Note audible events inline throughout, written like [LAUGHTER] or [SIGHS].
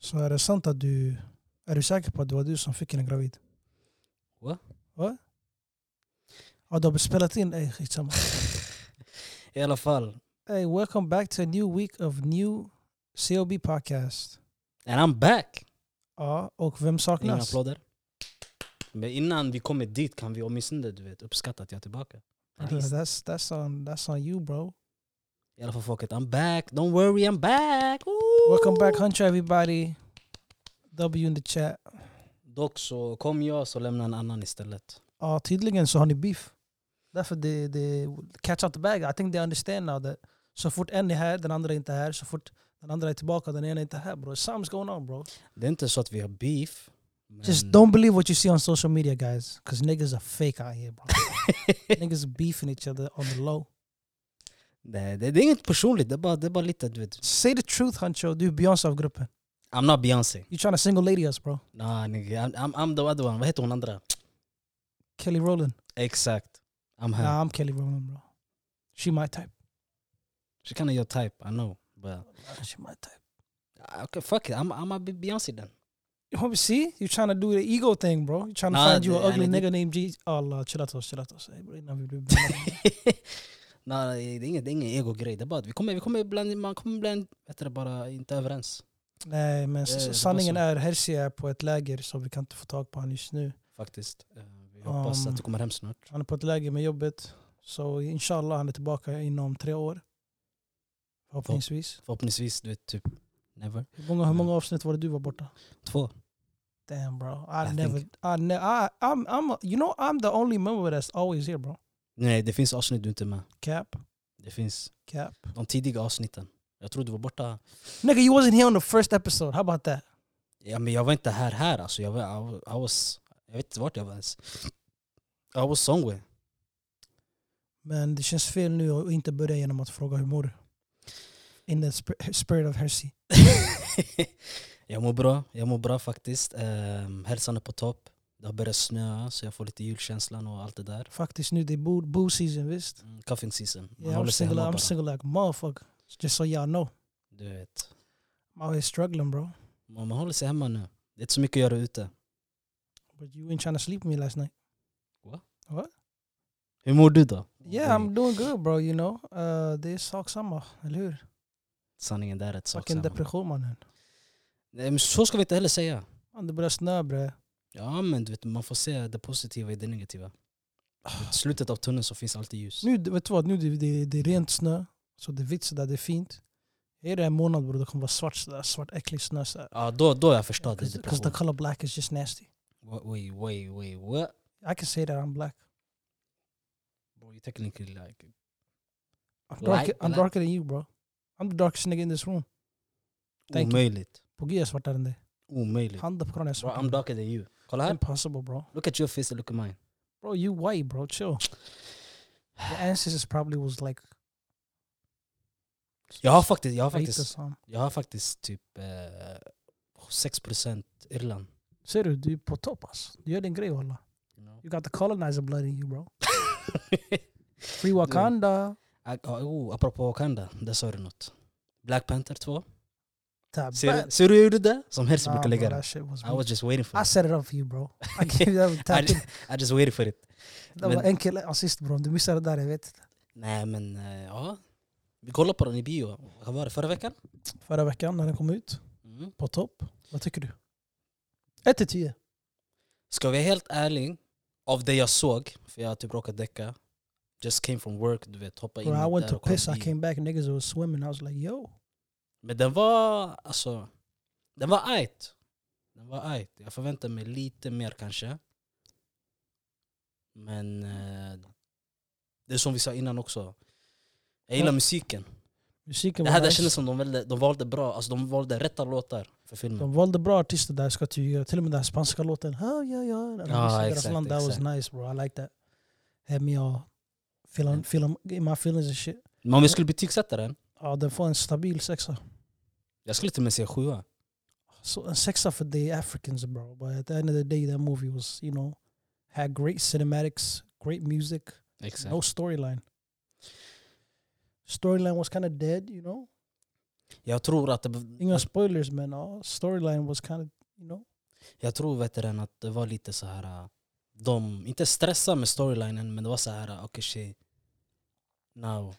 Så är det sant att du... Är du säker på att det var du som fick henne gravid? Va? Va? Ja, du har spelat in... Ey, skitsamma. I alla fall. Hey, welcome back to a new week of new COB podcast. And I'm back! Ja, och vem Inga saknas? applåder. Men innan vi kommer dit kan vi åtminstone du vet, uppskatta att jag är tillbaka. [LAUGHS] That's, that's, on, that's on you bro. I alla fall folket, I'm back! Don't worry, I'm back! Ooh. Welcome back Hunter everybody. W in the chat. Dock så kom jag så lämna en annan istället. Ja, tydligen så har ni beef. Därför det, det catch out the bag. I think they understand now that så fort en är här, den andra är inte här. Så fort den andra är tillbaka, den ena är inte här bro. Something's going on bro. Det är inte så att vi har beef. Men Just don't believe what you see on social media guys. Cause niggas are fake out here bro. niggas beefing each other on the low. Nej, det, det är inget personligt, det är bara, det är bara lite du vet. Say the truth Huncho, du är Beyoncé av gruppen. I'm not Beyoncé. You trying to single lady us bro. Nah, nigga, I'm, I'm, I'm the other one. Vad heter hon andra? Kelly Rowland. Exakt. I'm her. Nah, I'm Kelly Rowland bro. She my type. She kinda your type, I know. But She my type. Ah, okay, fuck it, I'm, I'm a be Beyoncé then. Oh, see, you're trying to do the ego thing, bro. You're trying to Nah, find you an I ugly need- nigga named G. Allah, chill out, to us, chill out. to us. Hey, bro, innan vi blir bannade. [LAUGHS] Nah, det är ingen, det är ingen ego-grej. Det är bara att vi kommer, vi kommer ibland, man kommer ibland, vet du, det, bara inte överens. [LAUGHS] Nej, men s- Eh, det var sanningen så. är Herzi är på ett läger så vi kan inte få tag på honom just nu. Faktiskt. Eh, Vi hoppas Um. att du kommer hem snart. Han är på ett läger med jobbet. Så inshallah, han är tillbaka inom tre år. Förhoppningsvis. Förhoppningsvis, du vet, typ never. Hur många, hur många avsnitt var det du var borta? Två. Damn bro, I, I never, think- I ne- I, I'm, I'm, a- you know I'm the only member that's always here bro. Nej, det finns avsnitt du inte är med. Cap, Det finns cap. de tidiga avsnitten. Jag tror du var borta. Nigga, you wasn't here on the first episode. How about that? Ja, men jag var inte här här alltså. Jag, var, I, was- I was, jag vet inte vart jag var ens. I was somewhere. [LAUGHS] Men det känns fel nu att inte börja genom att fråga hur mår du? In the sp- spirit of Hershey. jag mår bra, jag mår bra faktiskt. Um, hälsan är på topp. Det har börjat snöa så jag får lite julkänslan och allt det där. Faktiskt nu, det är boo, boo season visst? Mm, Cuffing season. Man Yeah, I'm, håller sig single, hemma I'm bara. single like motherfucker. Just so y'all know. Du vet. I'm always struggling bro. Man, man håller sig hemma nu. Det är inte så mycket att göra ute. But you ain't trying to sleep with me last night. Hur mår du då? Yeah, I'm doing good bro, you know. Uh, det är sak samma, eller hur? Sanningen där är ett sak Fucking samma. depression mannen. Nej, men Så ska vi inte heller säga. Man, det börjar snöa bre. Ja men du vet, man får se det positiva i det negativa. I slutet av tunneln så finns alltid ljus. Ah. Nu, vet du vad? Nu det, det, det är rent snö. Så det är vitt sådär, det är fint. Är det en månad bror, det kommer vara svart sådär, svart äcklig snö sådär. Ja då, då har jag förstått det. Because the depression. color black is just nasty. Wa- Wait, wait, wait, what? I can say that I'm black. Bro, you technically like... I'm, Black, darker, I'm black. darker than you bro. I'm the darkest nigga in this room. Thank you. Omöjligt. På G är jag svartare än dig. Omöjligt. Handen på kranen är Bro, svartare. I'm darker than you. Kolla här. Impossible bro. Look at your face and look at mine. Bro you white bro, chill. [SIGHS] The ancestors probably was like... Jag har faktiskt, jag har faktiskt... faktiskt, jag har faktiskt typ eh, 6% Irland. Ser du, du är på topp asså. Du gör din grej walla. You know? You got the colonizer blood in you [LAUGHS] bro. Free Wakanda. Ah, oh, apropå Wakanda, där sa du något. Black Panther 2. Tab. Ser, du- ser du hur jag gjorde det? Som Herzi Nah, brukar lägga bro, det. that shit was I was just waiting for I it. set it up for you bro. [LAUGHS] I gave you that tap. I just, I just waited for it. Det var men- enkel assist bro. Om Du missade det där jag vet. Nej men, eh, ja. Vi kollade på den i bio. Vad var det, förra veckan? Förra veckan när den kom ut. Mm. På topp. Vad tycker du? 1 till 10. Ska jag vara helt ärlig, av det jag såg, för jag har typ råkat däcka. uh, Just came from work, du vet. Hoppa in Bro, I där went to och kolla piss, I bio. came back, niggas was swimming. I was like, yo. Men den var, alltså, den var ajt. Den var ajt. Jag förväntade mig lite mer kanske. Men eh, det är som vi sa innan också. Jag gillar Ja. musiken. Musiken Det var här där nice. kändes som de valde, de valde bra, alltså de valde rätta låtar för filmen. De valde bra artister där, ska jag tyga. Till och med den här spanska låten. Oh, yeah, yeah. Den Ja, visade Ah, exakt, deras land. That was exakt. nice bro, I like that. Had me all feeling, feeling in my feelings and shit. Men om jag skulle betygsätta den, Ja, den får en stabil sexa. jag skulle till och med säga sjua. Så en sexa för the Africans bro. But at the end of the day that movie was, you know, had great cinematics, great music. Exakt. No storyline. Storyline was kind of dead, you know. Jag tror att det, Inga spoilers men ja, storyline was kind of, you know. jag tror vet du, den, att det var lite så här äh, de, inte stressa med storylinen men det var så här äh, okej okay, shit. Now.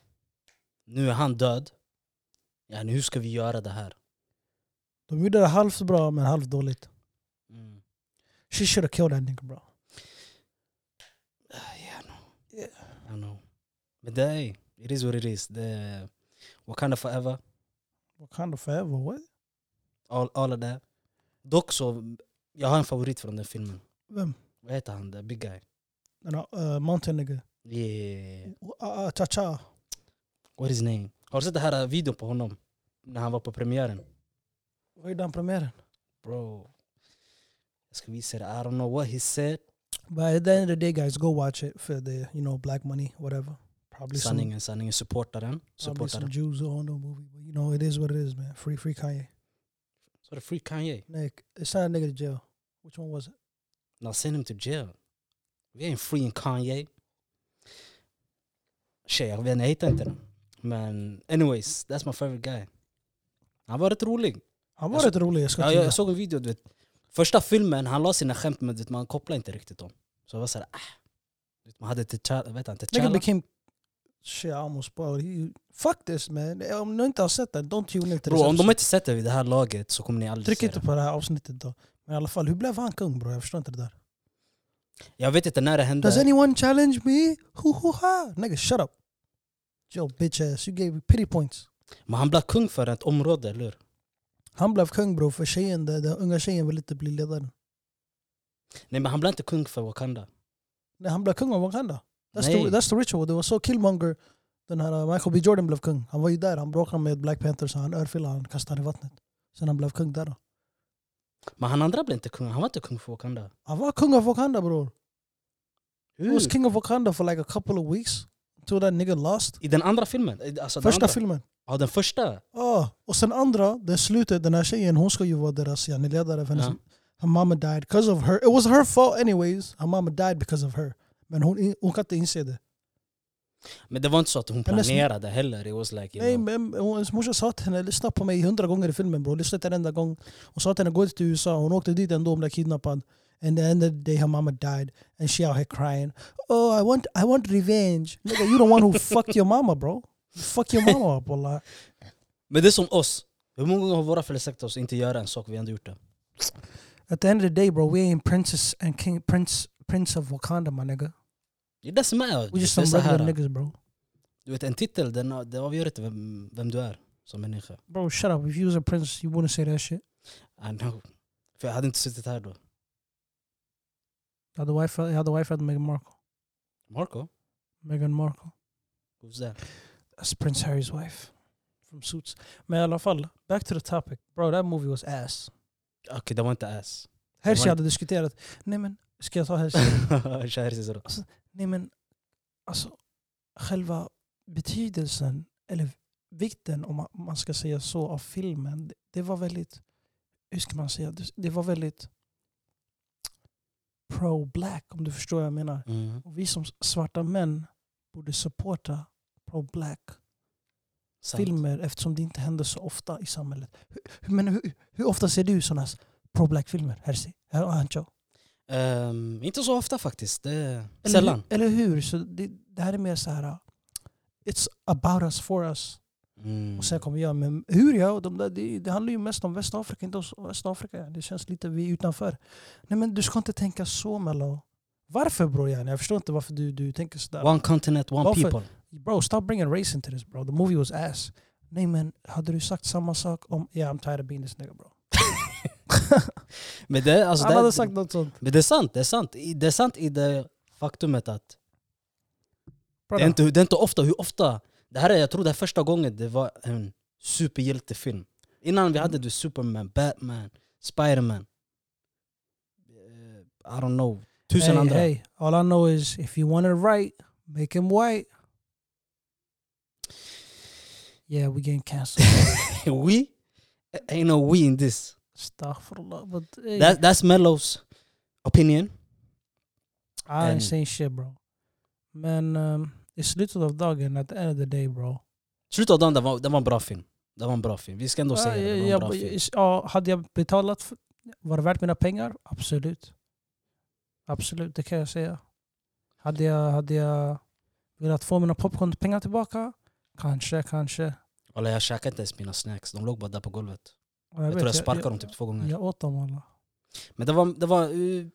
Nu är han död. Ja, hur ska vi göra det här? De gjorde det halvt bra men halvt dåligt. Mm. She should have killed that nigga bro. Ah, Yeah, I know. I know. Men det är, it is what it is. Det är Wakanda forever, What kind of forever? What? all, all of that. Dock så, jag har en favorit från den filmen. Vem? Vad heter han? The big guy? Den här, eh, mountain nigga. Yeah. Uh, cha cha. What is his name? Har du sett den här äh, videon på honom? När han var på premiären? Vad gjorde han premiären? Bro. Jag ska visa dig. I don't know what he said. But at the end of the day guys, go watch it for the, you know, black money, whatever. Probably some, Sanningen, sanningen. Supporta den. probably Supporta some den. Jews on the movie. But you know, it is what it is man. Free, free Kanye. Så det free Kanye. Nick, it sent a nigga to jail. Which one was it? Now send him to jail. Vi ain't free in Kanye. Tjej, jag vet inte, jag hittar inte den. Men anyways, that's my favorite guy. Han var rätt rolig. Han var Jag så- rätt rolig, jag ska Jag, tillägga. jag, jag såg en video, du vet. Första filmen, han la sina skämt men du vet, man kopplar inte riktigt dem. Så jag var såhär, ah. Du vet, Man hade T'Challa, vet han Nigga T'Challa? became... Shit, I almost spoiled. He, fuck this man. Om ni inte har sett den, don't tune in till Bro, om de avsnittet. inte sett det vid det här laget så kommer ni aldrig Tryck se inte det. på det här avsnittet då. Men i alla fall, hur blev han kung bro? Jag förstår inte det där. Jag vet inte när det hände. Does anyone challenge me? Hoo hoo ha! Nigga, shut up. Yo bitch ass, you gave me pity points. Men han blev kung för ett område, eller hur? Han blev kung bro för tjejen, där- den unga tjejen ville inte bli ledaren. Nej men han blev inte kung för Wakanda. Nej, han blev kung av Wakanda. That's Nej. the, that's the ritual. Det var så Killmonger, den här uh, Michael B Jordan blev kung. Han var ju där, han bråkade med Black Panther så han örfilade han kastade han i vattnet. Sen han blev kung där då. Men han andra blev inte kung, han var inte kung för Wakanda. Han var kung av Wakanda bror. He was Hur? king of Wakanda for like a couple of weeks. Until that nigga lost. I den andra filmen? Eh, Alltså den Första andra. filmen. Ja, den första. Ja, och sen andra, det är slutet, den här tjejen hon ska ju vara deras yani, ledare. För hennes, Ja. Her mama died because of her. It was her fault anyways. Her mama died because of her. Men hon, in- hon kan inte inse det. Men det var inte så att hon Hennes- planerade heller. It was like, you Nej, know. men hon- hennes morsa sa till henne, lyssna på mig hundra gånger i filmen bror. Lyssna inte en enda gång. Hon sa till henne, gå till USA. Hon åkte dit ändå, hon blev kidnappad. And the end of the day her mama died. And she out here crying. Oh I want, I want revenge. Nigga, you the one who [LAUGHS] fucked your mama bro. You fuck your mama up wallah. Men det är som oss. Hur många gånger har våra föräldrar sagt till oss inte göra en sak, vi har ändå gjort det. At the end of the day, bro, we ain't princess and king, prince, prince of Wakanda, my nigga. Det är det som är. We just det är some så regular här, niggas, bro. du vet, en titel, den, det avgör inte vem, vem du är som människa. Bro, shut up. If you was a prince, you wouldn't say that shit. I know. För jag hade inte suttit här då. Jag hade wife, jag hade wife hade Meghan Markle. Marco? Meghan Markle. Who's that? That's Prince Harry's wife. From Suits. Men i alla fall, back to the topic. Bro, that movie was ass. Okej, det var inte [LAUGHS] ass. Hershey var- hade diskuterat, nej men, ska jag ta Hershey? [LAUGHS] Kär Cicero. nej men, alltså, själva betydelsen, eller vikten om man- man ska säga så, av filmen, det- det var väldigt, hur ska man säga, det- det var väldigt pro-black om du förstår vad jag menar. Mm. Och vi som svarta män borde supporta pro-black Sant. filmer eftersom det inte händer så ofta i samhället. Hur, hur- men hur, hur ofta ser du sådana pro-black filmer, Herzi? Eller Ancho? Ehm, inte så ofta faktiskt. Det är Eller sällan. hur- Eller hur? Så det, det här är mer så här, uh, it's about us, for us. Mm. Och sen kommer jag, men hur jag? De där, det, det handlar ju mest om Västafrika, inte om Västafrika. Det känns lite vi är utanför. Nej men du ska inte tänka så Mello. Varför bror? yani? Jag förstår inte varför du, du tänker sådär. One continent, one Varför? people. Bro, stop bringing race into this bro. The movie was ass. Nej men, hade du sagt samma sak om... Um, Yeah, I'm tired of being this nigga [LAUGHS] bro. Men det, alltså, Han det, hade sagt något sånt. men det är sant, det är sant. I- Det är sant i det faktumet att Bro, det är, inte, det är inte ofta, hur ofta? Det här är, jag tror det är första gången det var en superhjältefilm. Innan vi hade du Superman, Batman, Spiderman. Eh, I don't know, tusen hey, andra. hey, all I know is if you want it right, make him white. Yeah, we getting canceled. [LAUGHS] [LAUGHS] we? Ain't no we in this. Astaghfirullah. But hey, That, that's Mellows opinion. I and- ain't saying shit bro. Men um, i slutet av dagen, at the end of the day bro. Slutet av dagen, det var, det var en bra film. Det var en bra film. Vi ska ändå säga Ja, det. Det jag, var en bra jag, film. ja, hade jag betalat, för, var det värt mina pengar? Absolut. Absolut, det kan jag säga. Hade jag, hade jag velat få mina popcornpengar tillbaka? Kanske, kanske. Alla, jag käkade inte ens mina snacks. De låg bara där på golvet. Och Jag, vet, tror jag sparkade dem jag, typ två gånger. jag, jag åt dem alla. Men det var... Det var eh,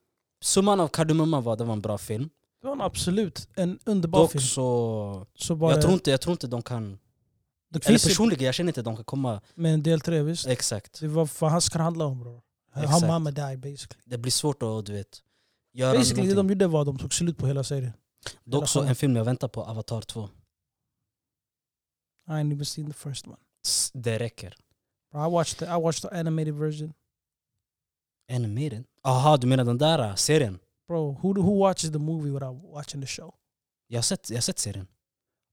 summan av kardemumman var det var en bra film. Det var en absolut en underbar Dock film. så... Så bara, Jag tror, inte, jag tror inte de kan... det Eller finns ju personligen, jag känner inte de kan komma... med en del tre, visst? Exakt. Det var vad han ska handla om bror. Han Exakt. mamma die basically. Det blir svårt att, du vet... Göra Basically det någonting. de gjorde var att de tog slut på hela serien. Dock så en film jag väntar på, Avatar 2. I ain't even seen the first one. S- Det räcker. Bro, I watched the, I watched the animated version. Animated? Aha, du menar den där äh, serien? Bro, who do- who watches the movie without watching the show? Jag har sett, jag har sett serien.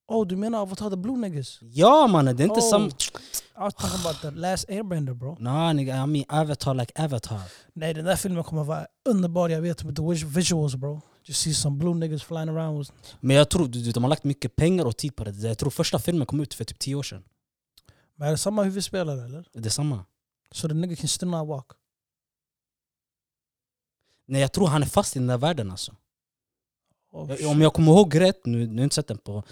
Oh, du menar Avatar the Blue Niggas? Ja mannen, det är inte Oh. samma... I was talking about the last airbender bro. Nej, no, I mean Avatar like Avatar. Nej, den där filmen kommer vara underbar, jag vet. With the vis- visuals bro. Just see some blue niggas flying around. with- Men jag tror du, du, de har lagt mycket pengar och tid på det. Jag tror första filmen kom ut för typ 10 år sedan. Men är det samma huvudspelare eller? Det är samma. So the nigga can still not walk. Nej jag tror han är fast i den där världen alltså. Oh, Jag- shit. Om jag kommer ihåg rätt, nu, nu har jag inte sett den på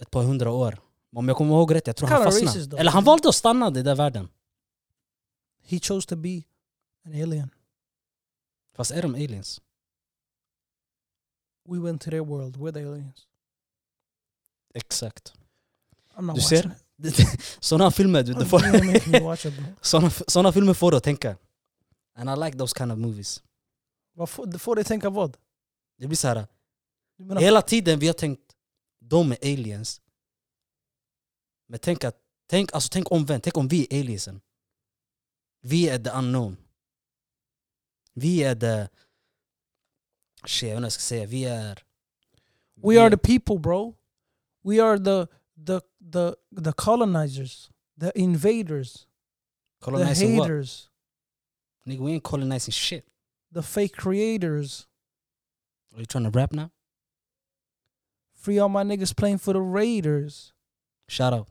ett par hundra år. Men Om jag kommer ihåg rätt, jag tror han Kinda fastnade. racist, though. Eller han valde att stanna i den där världen. He chose to be an alien. Fast är de aliens? We went to their world, we're the aliens. Exakt. I'm not Du watching ser? it. Sådana filmer, du, du får, You make me [LAUGHS] watch it, bro. såna, såna filmer får du att tänka. And I like those kind of movies. Vad får, det får dig tänka vad? Det blir så här. Du [LAUGHS] menar, Hela tiden vi har tänkt, de är aliens. Men tänk, att, tänk, alltså, tänk omvänt, tänk om vi är aliensen. Vi är the unknown. Vi är the... Shit, jag vet inte vad jag ska säga. Vi är... we are the people bro. We are the, the, the, the colonizers. The invaders. colonizing the what? haters. Nigga, we ain't colonizing shit. The fake creators. Are you trying to rap now? Free all my niggas playing for the Raiders. Shout out.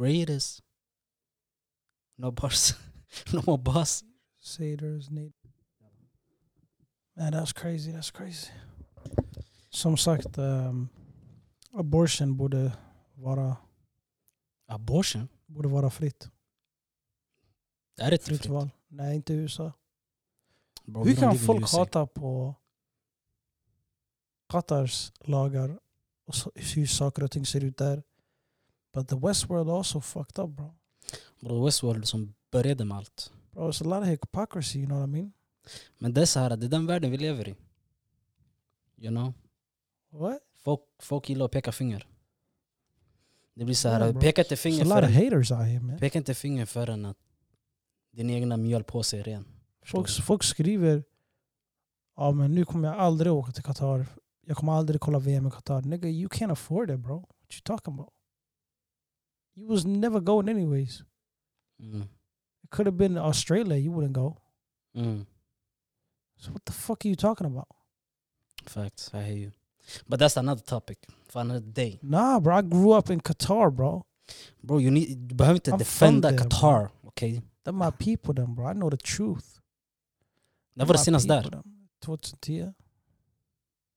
Raiders. No bars. [LAUGHS] no more bars. Satyrs need. Man, that's crazy. That's crazy. Som sagt, um, abortion borde vara, Abortion? borde vara fritt. Det är ett Fritt fritt. val. Nej, inte i USA. Bro, we Hur don't kan live in folk USA. hata på Qatars lagar och så- hur saker och ting ser ut där? But the West world also fucked up bro. Bro, Westworld som började med allt. Bro, it's a lot of hypocrisy, you know what I mean? Men det är så här, det är den världen vi lever i. You know? What? Folk, folk gillar att peka finger. Det blir så Ja, här, bro. peka inte There's finger a lot of förrän, haters out here man. peka inte finger förrän att din egna mjöl på sig är ren. Förstår Folk, du? folk skriver ja men nu kommer jag aldrig åka till Qatar. Jag kommer aldrig kolla VM i Qatar. Nigga, you can't afford it bro. What you talking about? You was never going anyways. Mm. It could have been Australia, you wouldn't go. Mm. So what the fuck are you talking about? Facts, I hear you. But that's another topic. For another day. Nah bro, I grew up in Qatar bro. Bro, you need, du behöver inte I'm from defenda there, bro. Qatar. Okej? They're my people then bro. I know the truth. När var det My senast där? people, them. 2010.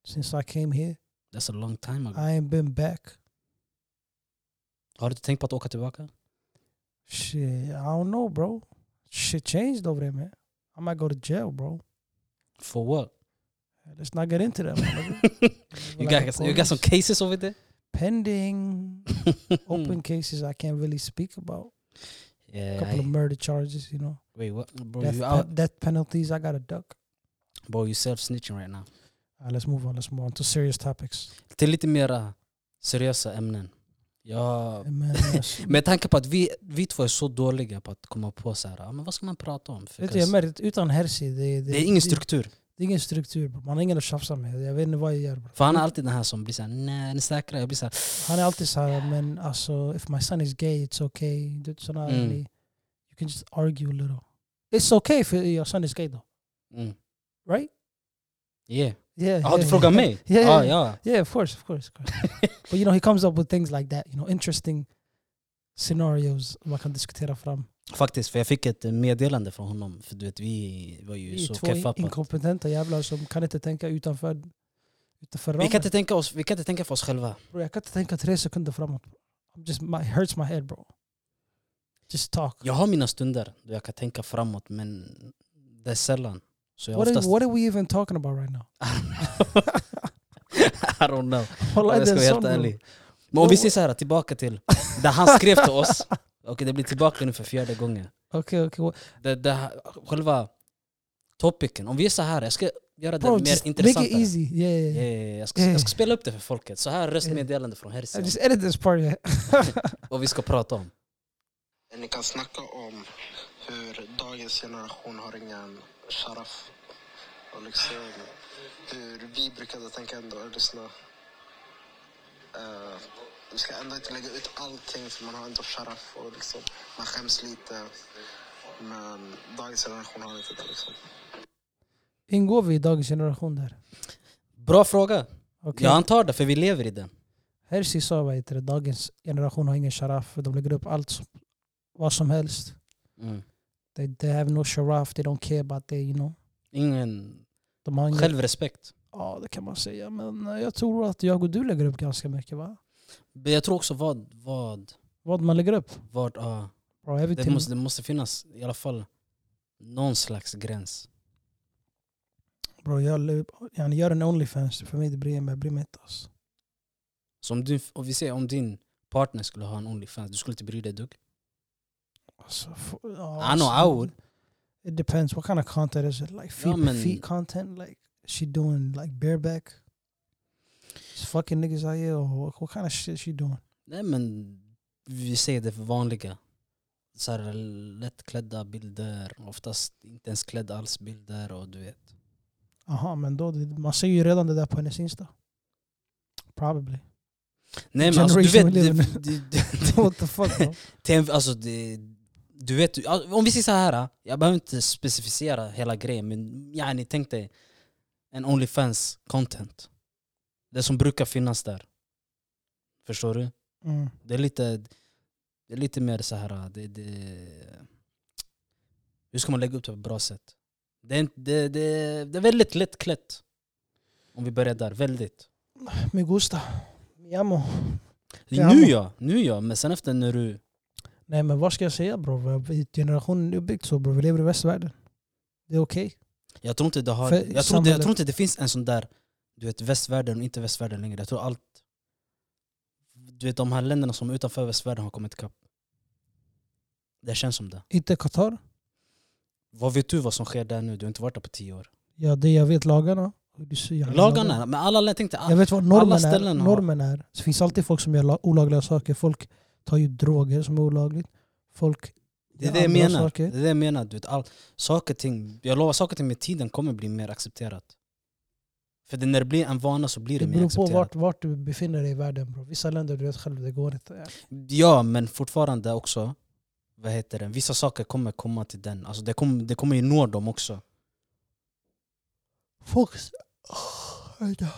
Since I came here. That's a long time ago. I ain't been back. Har du inte tänkt på att åka tillbaka? Shit, I don't know, bro. Shit changed over there, man. I might go to jail, bro. For what? Let's not get into that. man. [LAUGHS] you, Like got, the you got some Hmm. police. cases over there? pending [LAUGHS] open cases I can't really speak about. A Mm. yeah, couple of I- murder charges, you know. wait, what? Bro, Death, you pe- out, death penalties. I gotta duck. Bro, you self snitching right now. All right, let's move on. Let's move on to serious topics. Till lite mera seriösa ämnen. Ja, [LAUGHS] Amen. yes. med tanke på att vi, vi två är så dåliga på att komma på så här, ja, men vad ska man prata om? För Vet du, jag det, märker utan Hersi, det, det, är ingen det, struktur. det är ingen struktur. Bro. Man har ingen att tjafsa med. Jag vet inte vad jag gör. Bro. För han är alltid den här som blir såhär, nej är ni säkra? Jag blir såhär, Han är alltid såhär, men alltså if my son is gay it's okay. Du vet sådana Mm. really, You can just argue a little. It's okay if your son is gay though. mm. Right? [LAUGHS] Yeah. Yeah. Ja, yeah, du [LAUGHS] frågar yeah. mig? Ja, ja, ah, ja. [LAUGHS] Yeah, of course, of course. Of course. but you know, he comes up with things like that. You know, interesting scenarios man kan diskutera fram. Faktiskt, för jag fick ett meddelande från honom. För du vet, vi var ju Vi är så två keffa på att- inkompetenta jävlar som kan inte tänka utanför, utanför vi ramen. kan, inte tänka oss, vi kan inte tänka för oss själva. bro, jag kan inte tänka tre sekunder framåt. I'm just, my, it hurts my head bro. Just talk. Jag har mina stunder då jag kan tänka framåt, men det är sällan. Så jag What are, oftast... [LAUGHS] what are we even talking about right now? I don't know. [LAUGHS] Wallah, Om [LAUGHS] jag det är ska en vara sån, helt bro. ärlig. Men om vi ser så här, tillbaka till där han skrev [LAUGHS] till oss. Okej, det blir tillbaka nu för fjärde gången. Okej, okej. Det, det, här- själva topicen. Om vi är så här, jag ska göra det Bro, mer just intressant. make it easy. Yeah, yeah, yeah. jag, ska, jag ska spela upp det för folket. Så här röstmeddelande från I Herzian. just edit this part. Yeah. [LAUGHS] Vad vi ska prata om. Där ni kan snacka om hur dagens generation har ingen sharaf. Och liksom hur vi brukade tänka ändå och lyssna. Eh, vi ska ändå inte lägga ut allting för man har ändå sharaf och liksom man skäms lite. Men dagens generation har inte det liksom. Ingår vi i dagens generation där? Bra fråga. Okej. Jag antar det, för vi lever i den. Herzi sa vad heter det, dagens generation har ingen sharaf. för De lägger upp allt, som- vad som helst. Mm. They, they have no sharaf, they don't care about that, you know. Ingen De har ingen... självrespekt. Ja, det kan man säga. Men eh, jag tror att jag och du lägger upp ganska mycket, va? Men jag tror också vad... vad, Vad man lägger upp. vad ah, Bro, det, everything. måste, det måste finnas i alla fall någon slags gräns. Bro, jag, la upp- jag gör en Onlyfans. För mig, det bryr jag mig. Jag bryr mig inte. Alltså. Så om, du, om vi säger om din partner skulle ha en Onlyfans, du skulle inte bry dig ett dugg? Alltså, f- ja, I know I would. It depends. What kind of content is it? Like feet, Ja, men- feet content? Like she doing like bareback? Just fucking niggas out here? Or what, what kind of shit she doing? Nej men vi säger det för vanliga. Så här, lättklädda bilder, oftast inte ens klädda alls bilder och du vet. Aha, men då, det- man ser ju redan det där på hennes Insta. Probably. [LAUGHS] Nej men alltså, du Generation vet, we det, live [LAUGHS] det, det, What the fuck? [LAUGHS] bro? det, alltså, det, du vet, du- alltså, om vi säger så här, jag behöver inte specificera hela grejen men yani, tänk dig en Onlyfans content. Det som brukar finnas där. Förstår du? Mm. Det är lite, det är lite mer så här. Det, det, hur ska man lägga upp det på ett bra sätt? Det är, inte- det, det, det är väldigt lättklätt. Om vi börjar där, väldigt. Me gusta. Mi amo. Ja. Nu ja, nu ja, men sen efter när du... Nej men vad ska jag säga bro? Vi- Generationen är uppbyggd så bro. Vi lever i västvärlden. Det är okej. Jag tror inte det har... För Jag tror, inte- jag samhället- tror inte det finns en sån där, du vet västvärlden och inte västvärlden längre. Jag tror allt... Du vet de här länderna som är utanför västvärlden har kommit ikapp. Det känns som det. Inte Qatar. Vad vet du vad som sker där nu? Du har inte varit där på tio år. Ja, det jag vet lagarna. Och du ser- jag har Lagarna, men alla länder tänkte... Jag vet vad normen är. ställen har- Normen är. Det finns alltid folk som gör la- olagliga saker. Folk tar ju droger som är olagligt. Folk... Det är Ja, det jag andra menar. saker. Det är det jag menar. Du vet, all, saker och ting, jag lovar, saker och ting med tiden kommer bli mer accepterat. För det, när det blir en vana så blir det, Det mer beror på accepterat. vart, vart du befinner dig i världen bro. Vissa länder, du vet själv, det går inte. Ja, men fortfarande också, vad heter det, vissa saker kommer komma till den. Alltså det, kommer, det kommer ju nå dem också. Folk... Ah,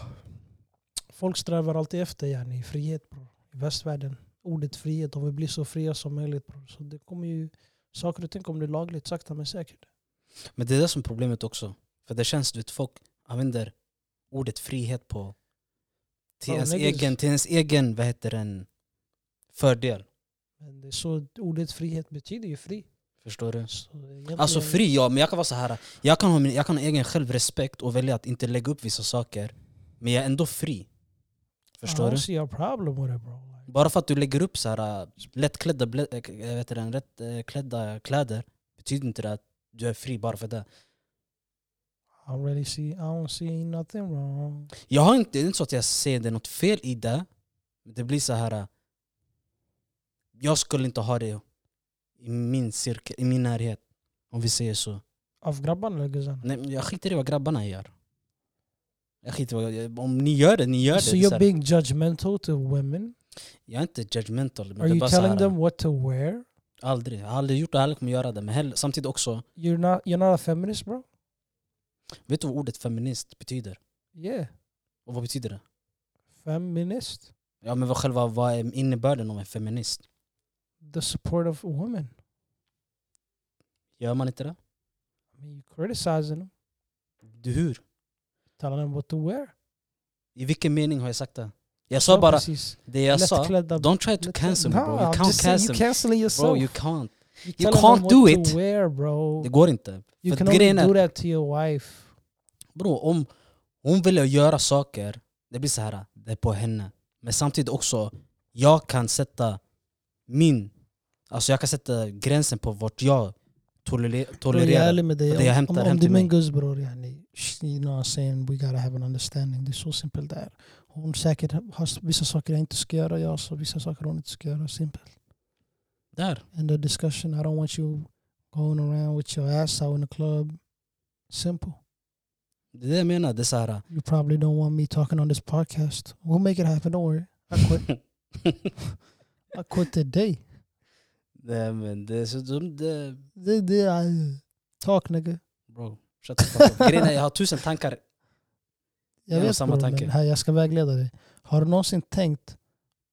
Folk strävar alltid efter yani, frihet bro. i västvärlden. Ordet frihet, de vill bli så fria som möjligt. Bro. Så det kommer ju... Saker och ting kommer bli lagligt sakta men säkert. Men det är det som är problemet också. För det känns, du vet, folk använder ordet frihet på till, Ja, ens, negativt. egen, till ens egen, vad heter den, fördel. Men det är så ordet frihet betyder ju fri. Förstår du? Så egentligen- Alltså fri ja, men jag kan vara så här. Jag kan, ha min, jag kan ha egen självrespekt och välja att inte lägga upp vissa saker. Men jag är ändå fri. Förstår I don't du? see a problem with it bro. Like, Bara för att du lägger upp så här äh, lättklädda, blä, äh, jag vet inte, rätt, äh, klädda kläder betyder inte det att du är fri bara för det. I don't really see, I don't see nothing wrong. Jag har inte, det är inte så att jag ser det är något fel i det. Men det blir så här. äh, Jag skulle inte ha det i min cirkel, i min närhet. Om vi säger så. Av grabbarna eller guzzarna? Nej, men jag skiter i vad grabbarna gör. Jag skiter i vad jag, om ni gör det, ni gör So det. det. är så you're här- being judgmental to women? Jag är inte judgmental. Men Are det är you bara så telling här, them what to wear? Aldrig. Jag har aldrig gjort det, jag har aldrig kommer göra det. Men hell, samtidigt också, You're not, you're not a feminist bro? vet du vad ordet feminist betyder? Yeah. Och vad betyder det? Feminist? Ja men vad själva vad är innebörden av en feminist? the support of women. Gör man inte det? I mean, you criticizing them, Du, hur? telling them what to wear. I vilken mening har jag sagt det? Jag Ja, sa bara precis. det jag sa. Lättklädda- uh, Don't try to lättklädda- cancel me No, bro. I'm You just can't saying cancel You me. cancelling yourself. Bro, you can't. You You telling can't them do what it. To wear, bro. Det går inte. You För can att grejen only do är, that to your wife. bro, om hon vill göra saker, det blir så här, det är på henne. Men samtidigt också, jag kan sätta min, alltså jag kan sätta gränsen på vart jag tolerer- Bro, jag är tolererar. ärlig med dig. Och det jag Om- hämtar om, hem om det är till min mig. gudsbror, yani, sh- you know what I'm saying, we gotta have an understanding. Det är så simpelt det är. Hon säkert har s- vissa saker jag inte ska göra, jag har så vissa saker hon inte ska göra. Simpelt. Där. End of discussion. I don't want you going around with your ass out in the club. Simple. Det är det jag menar. Det är så här, You probably don't want me talking on this podcast. We'll make it happen, don't worry. I quit. [LAUGHS] I quit today. Nej men det är så dumt. Det, Det, det, I, talk nigga. bro, shut the fuck up. Grejen är, jag har tusen tankar. Jag Det är vet samma bror, tanke. men här, jag ska vägleda dig. Har du någonsin tänkt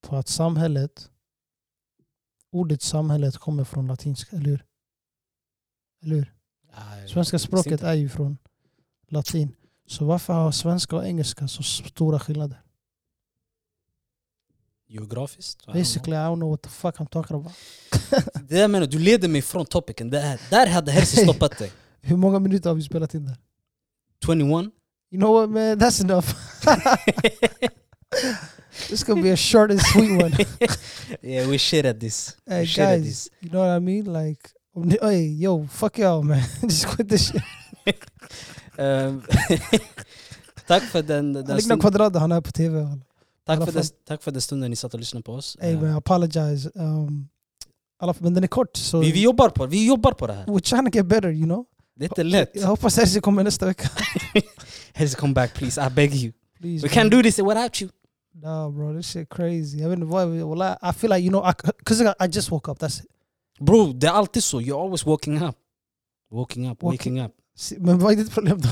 på att samhället, ordet samhället kommer från latinska, eller hur? Eller hur? Svenska språket Eh, inte. är ju från latin. Så varför har svenska och engelska så stora skillnader? Geografiskt? I don't know. Basically I don't know what the fuck I'm talking about. Det jag menar, du leder mig från topicen. Det här, där [LAUGHS] hade Herzi stoppat dig. Hur många minuter har vi spelat in där? 21. You know what man, that's enough. [LAUGHS] [LAUGHS] This gonna be a short and sweet one. yeah, we shit at this. Hey we shit at guys, this. you know what I mean? Like, om ni- hey yo, fuck y'all man. [LAUGHS] Just quit this shit. Ehm, [LAUGHS] tack för den, den Han liknar stund, Quadrado, han är på tv. tack, alla för den, fall. tack för den stunden ni satt och lyssnade på oss. Ey Ehm, man, I apologize. Um, alla, men den är kort så vi, vi, jobbar på, vi jobbar på det här. we're trying to get better you know. Det är inte lätt. Jag hoppas Herzi kommer nästa vecka. Herzi come back please, I beg you. Please, We can't bro. do this without you. Nah bro, this shit crazy. Jag vet inte vad jag wallah, I feel like you know, I, cause I, I just woke up, that's it. Bro, det är alltid så. You're always waking up. Waking up, Walking- waking up. Se- Men vad är ditt problem [LAUGHS] då?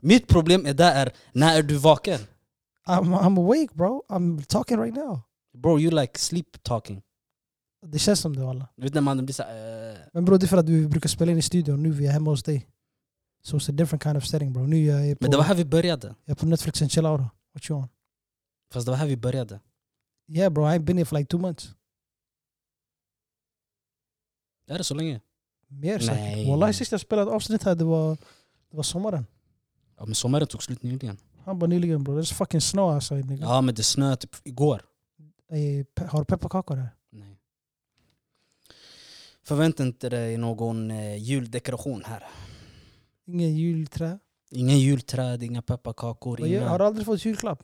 Mitt problem är där är, när är du vaken? I'm, I'm awake bro, I'm talking right now. Bro, you like sleep talking. Det känns som det alla. Du vet när man blir såhär... Uh, Men bro, det är för att vi brukar spela in i studion, nu vi är hemma hos dig. So it's a different kind of setting bro. Nu är jag är på, men det var här vi började. jag är på Netflix and chill out. What you on? Fast det var här vi började. Yeah bro, I ain't been here for like two months. Det är så länge. Mer Nej. säkert. Wallahi sist jag spelade ett avsnitt här, det var, det var sommaren. Ja, men sommaren tog slut nyligen. Han bara nyligen bror, det är fucking snö alltså. Ja. Ja men det snöade typ igår. Har du pepparkakor här? Nej. Förvänta inte dig någon eh, juldekoration här. Ingen julträ? Inga julträd, inga pepparkakor, Vad gör- inga... Har du aldrig fått julklapp?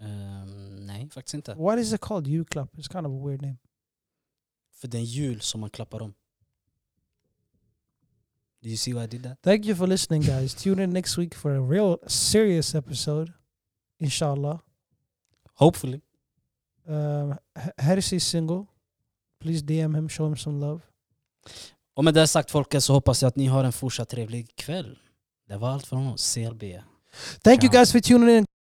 Ehm, nej, faktiskt inte. What is it called? Julklapp? It's kind of a weird name. För det är en jul som man klappar om. Do you see what I did there? Thank you for listening guys. Tune in next week for a real serious episode. Inshallah. Hopefully. Um, H- Harris is single. Please DM him, show him some love. Och med det sagt folket så hoppas jag att ni har en fortsatt trevlig kväll. Det var allt från oss, CLB. Thank you Ciao. guys for tuning in.